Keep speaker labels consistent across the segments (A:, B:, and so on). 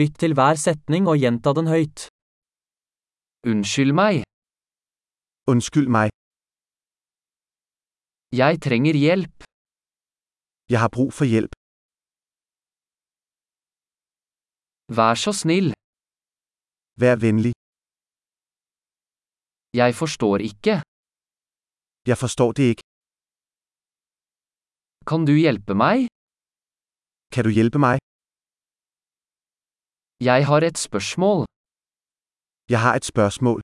A: Lytt til hver setning og gjenta den høyt. Unnskyld meg,
B: Undskyld mig,
A: jeg trenger hjelp.
B: jeg har brug for hjælp.
A: Vær så snill,
B: Vær venlig.
A: jeg forstår ikke.
B: Jeg forstår det ikke.
A: Kan du hjelpe meg?
B: Kan du hjælpe mig?
A: Jeg har et spørsmål.
B: Jeg har et spørgsmål.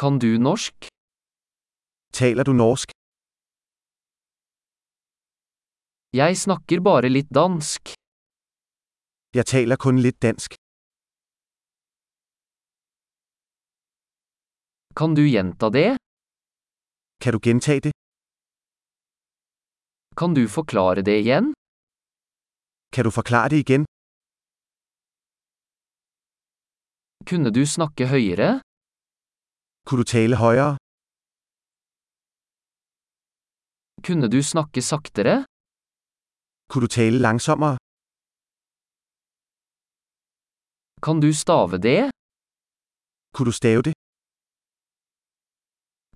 A: Kan du norsk?
B: Taler du norsk?
A: Jeg snakker bare litt dansk.
B: Jeg taler kun lidt dansk.
A: Kan du gjenta det?
B: Kan du gentage det?
A: Kan du forklare det igjen?
B: Kan du forklare det igen?
A: Kunne du snakke høyere?
B: Kunne du tale højere?
A: Kunne du snakke saktere?
B: Kunne du tale langsommere?
A: Kan du stave det?
B: Kunne du stave det?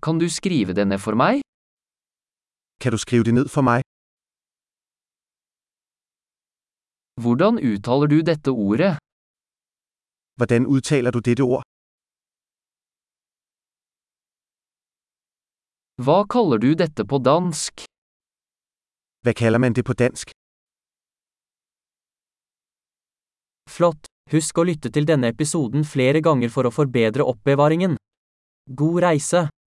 A: Kan du skrive det ned for meg?
B: Kan du skrive det ned for mig?
A: Hvordan uttaler du dette ordet?
B: Hvordan udtaler du dette ord?
A: Hva kaller du dette på dansk?
B: Hvad kalder man det på dansk?
A: Flott! Husk å lytte til denne episoden flere ganger for å forbedre oppbevaringen. God reise!